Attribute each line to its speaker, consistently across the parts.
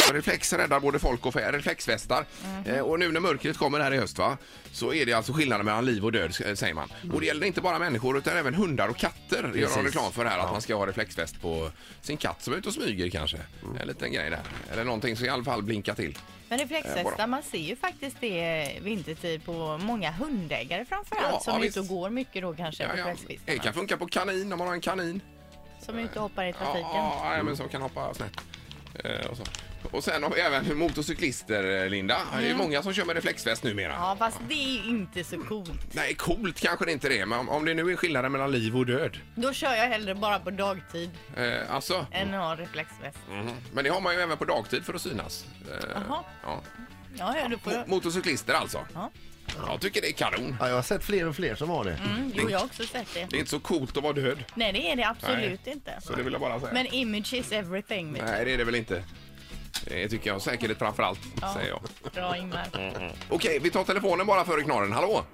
Speaker 1: För reflex räddar både folk och fä, reflexvästar.
Speaker 2: Mhm.
Speaker 1: Eh, och nu när mörkret kommer här i höst va, så är det alltså skillnaden mellan liv och död eh, säger man. Och
Speaker 2: Mm.
Speaker 1: det gäller inte bara människor utan även hundar och katter. Det gör de
Speaker 3: Precis.
Speaker 1: reklam för här att man ska ha reflexväst på sin katt som är ute och smyger kanske.
Speaker 2: Mm.
Speaker 1: En liten grej där. Eller någonting som i alla fall blinkar till.
Speaker 2: Men
Speaker 1: Eh, bara.
Speaker 2: reflexvästar, man ser ju faktiskt det vintertid på många hundägare framförallt
Speaker 1: Ja,
Speaker 2: som
Speaker 1: ja,
Speaker 2: är ute och
Speaker 1: visst.
Speaker 2: går mycket då kanske.
Speaker 1: Ja, ja. Det
Speaker 2: reflexvästarna.
Speaker 1: kan funka på kanin om man har en kanin.
Speaker 2: Som är ute och hoppar i
Speaker 1: Ja,
Speaker 2: trafiken.
Speaker 1: ja, ja, men som kan hoppa snett. Eh, och, så. och sen har vi även motorcyklister, eh, Linda. Det är ju många som kör med reflexväst numera.
Speaker 2: Ja, fast det är ju inte så coolt.
Speaker 1: Nej, coolt kanske det inte är, men om, om det nu är skillnaden mellan liv och död.
Speaker 2: Då kör jag hellre bara på dagtid
Speaker 1: Eh, alltså,
Speaker 2: än har reflexväst.
Speaker 1: mhm. men det har man ju även på dagtid för att synas. Eh,
Speaker 2: Jaha.
Speaker 1: ja.
Speaker 2: Ja, ja, då får
Speaker 1: Mo-
Speaker 2: jag.
Speaker 1: Motorcyklister alltså.
Speaker 2: Ja.
Speaker 1: Jag tycker det är kanon.
Speaker 3: Ja, jag har sett fler och fler som har det.
Speaker 2: Mm, jo, jag har också sett det.
Speaker 1: Det är inte så coolt att vara död,
Speaker 2: Nej, det är det absolut inte.
Speaker 1: så det vill jag bara säga.
Speaker 2: Men image is everything. vet
Speaker 1: Nej, det är det väl inte. Det tycker jag. Säkerhet framför allt,
Speaker 2: Ja.
Speaker 1: säger jag. Mm.
Speaker 2: du. Bra Ingmar.
Speaker 1: Okej, vi tar telefonen bara före knorren. Hallå!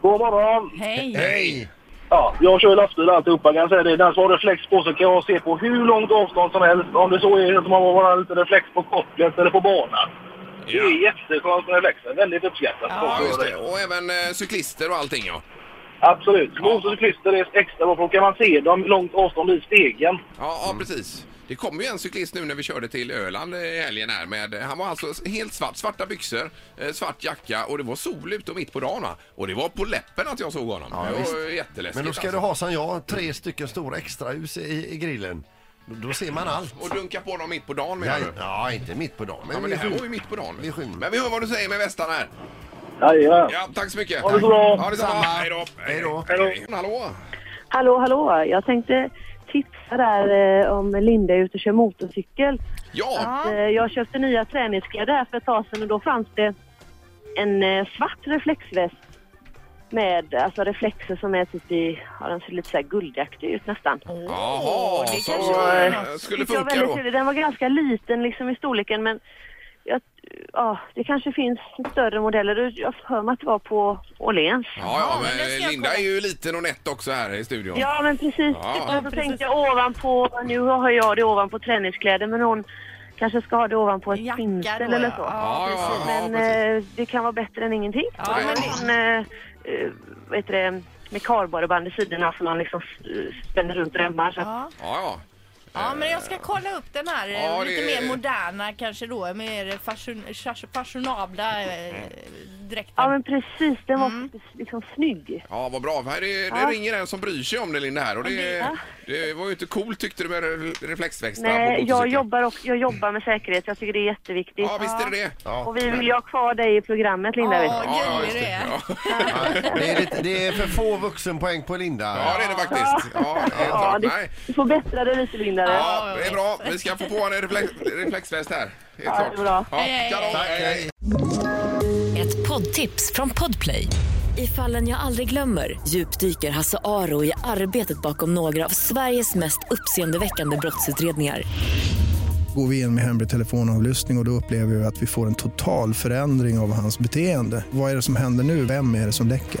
Speaker 4: God morgon!
Speaker 2: Hej!
Speaker 1: Hej!
Speaker 4: Ja, jag kör lastbil och alltihopa kan jag säga det. Den som har reflex på sig kan jag se på hur långt avstånd som helst. Om det så är att man har bara lite reflex på kopplet eller på banan. Det är jätteskönt med reflexen. Väldigt uppskattat.
Speaker 1: Ja, just det. Och även eh, cyklister och allting, ja.
Speaker 4: Absolut. Motorcyklister är extra bra för då kan man se dem långt avstånd i stegen.
Speaker 1: Ja,
Speaker 3: Mm.
Speaker 1: ja precis. Det kom ju en cyklist nu när vi körde till Öland eh, i helgen här med, han var alltså helt svart, svarta byxor, eh, svart jacka och det var sol ute och mitt på dagen va? Och det var på läppen att jag såg honom.
Speaker 3: Ja,
Speaker 1: det var
Speaker 3: visst.
Speaker 1: jätteläskigt alltså.
Speaker 3: Men då ska du ha som jag, tre stycken stora extrahus i, i grillen. Då, då ser man allt.
Speaker 1: Och dunka på dem mitt på dagen menar
Speaker 3: Ja,
Speaker 1: du?
Speaker 3: ja, inte mitt på dagen. Men,
Speaker 1: Ja, men det här
Speaker 3: vi-
Speaker 1: var ju mitt på dagen.
Speaker 3: Vi skymmer.
Speaker 1: Men vi hör vad du säger med västarna här.
Speaker 4: Jajamän.
Speaker 1: Ja, tack så mycket.
Speaker 4: Ha det så bra.
Speaker 1: Ja, detsamma.
Speaker 3: Samma.
Speaker 1: Hej då.
Speaker 3: Hej då.
Speaker 1: Hej då. Hallå.
Speaker 5: Hallå, hallå. Jag tänkte tipsa där eh, om Linda är ute och kör motorcykel.
Speaker 1: Ja,
Speaker 2: Ja,
Speaker 5: Eh, jag köpte nya träningskläder här för ett tag sedan och då fanns det en eh, svart reflexväst med alltså reflexer som är typ i, ja den ser lite så här guldaktig ut nästan.
Speaker 1: jaha.
Speaker 2: det
Speaker 1: Så
Speaker 2: kanske
Speaker 5: var
Speaker 1: eh,
Speaker 2: något.
Speaker 1: skulle
Speaker 5: Tyckte jag
Speaker 1: funka
Speaker 5: väldigt
Speaker 1: då.
Speaker 5: trevligt. Den var ganska liten liksom i storleken men jag, ja, det kanske finns större modeller. Jag hör mig att det var på Åhléns.
Speaker 1: Ja, ja,
Speaker 2: Ja, men det ska
Speaker 1: men
Speaker 2: jag
Speaker 1: Linda
Speaker 2: kolla.
Speaker 1: är ju liten och nätt också här i studion.
Speaker 5: Ja, men precis.
Speaker 1: Ja.
Speaker 5: Och så tänkte jag ovanpå, nu har jag det ovanpå träningskläder men hon kanske ska ha det ovanpå ett
Speaker 2: Jacka
Speaker 5: pinsel
Speaker 2: då,
Speaker 5: eller
Speaker 2: ja.
Speaker 5: så.
Speaker 1: Ja, ja, ja,
Speaker 5: men
Speaker 1: precis.
Speaker 5: eh, det kan vara bättre än ingenting.
Speaker 2: Ja,
Speaker 5: men
Speaker 1: men det-
Speaker 5: hon, eh, eh, vad heter det, med kardborreband i sidorna så man liksom eh, spänner runt remmar. Så att,
Speaker 2: ja.
Speaker 1: Ja, ja.
Speaker 2: ja, men jag ska kolla upp den här eh,
Speaker 1: Ja,
Speaker 2: lite
Speaker 1: det-
Speaker 2: mer moderna kanske då, mer fashion, fashion- fashionabla
Speaker 1: Mm.
Speaker 2: eh, dräkten.
Speaker 5: ja, men precis. Den var liksom snygg.
Speaker 1: Ja, vad bra. Här är, det
Speaker 5: Ja.
Speaker 1: ringer en som bryr sig om det, Linda. Här. Och det,
Speaker 5: Ja.
Speaker 1: det var ju inte coolt tyckte du med re- reflexväxlar
Speaker 5: Nej,
Speaker 1: på
Speaker 5: jag
Speaker 1: motorcyklar.
Speaker 5: jobbar, och, jag jobbar med säkerhet. Jag tycker det är jätteviktigt.
Speaker 1: Ja, visst är det det.
Speaker 3: Ja.
Speaker 5: Och vi vill ju ha kvar dig i programmet, Linda. vet du.
Speaker 2: Ja,
Speaker 1: Ja,
Speaker 2: gullig
Speaker 1: just
Speaker 2: du
Speaker 1: det.
Speaker 2: är.
Speaker 1: Ja.
Speaker 3: Ja, det, är lite, det är för få vuxenpoäng på Linda.
Speaker 1: ja, det är det faktiskt. Ja, det är
Speaker 5: Ja,
Speaker 1: klart.
Speaker 5: du,
Speaker 1: Nej.
Speaker 5: du får bättra dig lite, Linda. där.
Speaker 1: Ja, det är bra. Vi ska få på en reflex, reflexväst här. Helt
Speaker 5: Ja, det är bra.
Speaker 1: Ja,
Speaker 2: Hej, hej,
Speaker 1: kanon.
Speaker 3: Tack,
Speaker 1: Hej, hej.
Speaker 3: hej.
Speaker 6: Ett poddtips från Podplay. I fallen jag aldrig glömmer djupdyker Hasse Aro i arbetet bakom några av Sveriges mest uppseendeväckande brottsutredningar.
Speaker 7: går vi in med hemlig telefonavlyssning och, och då upplever vi att vi får en total förändring av hans beteende. Vad är det som händer nu? Vem är det som läcker?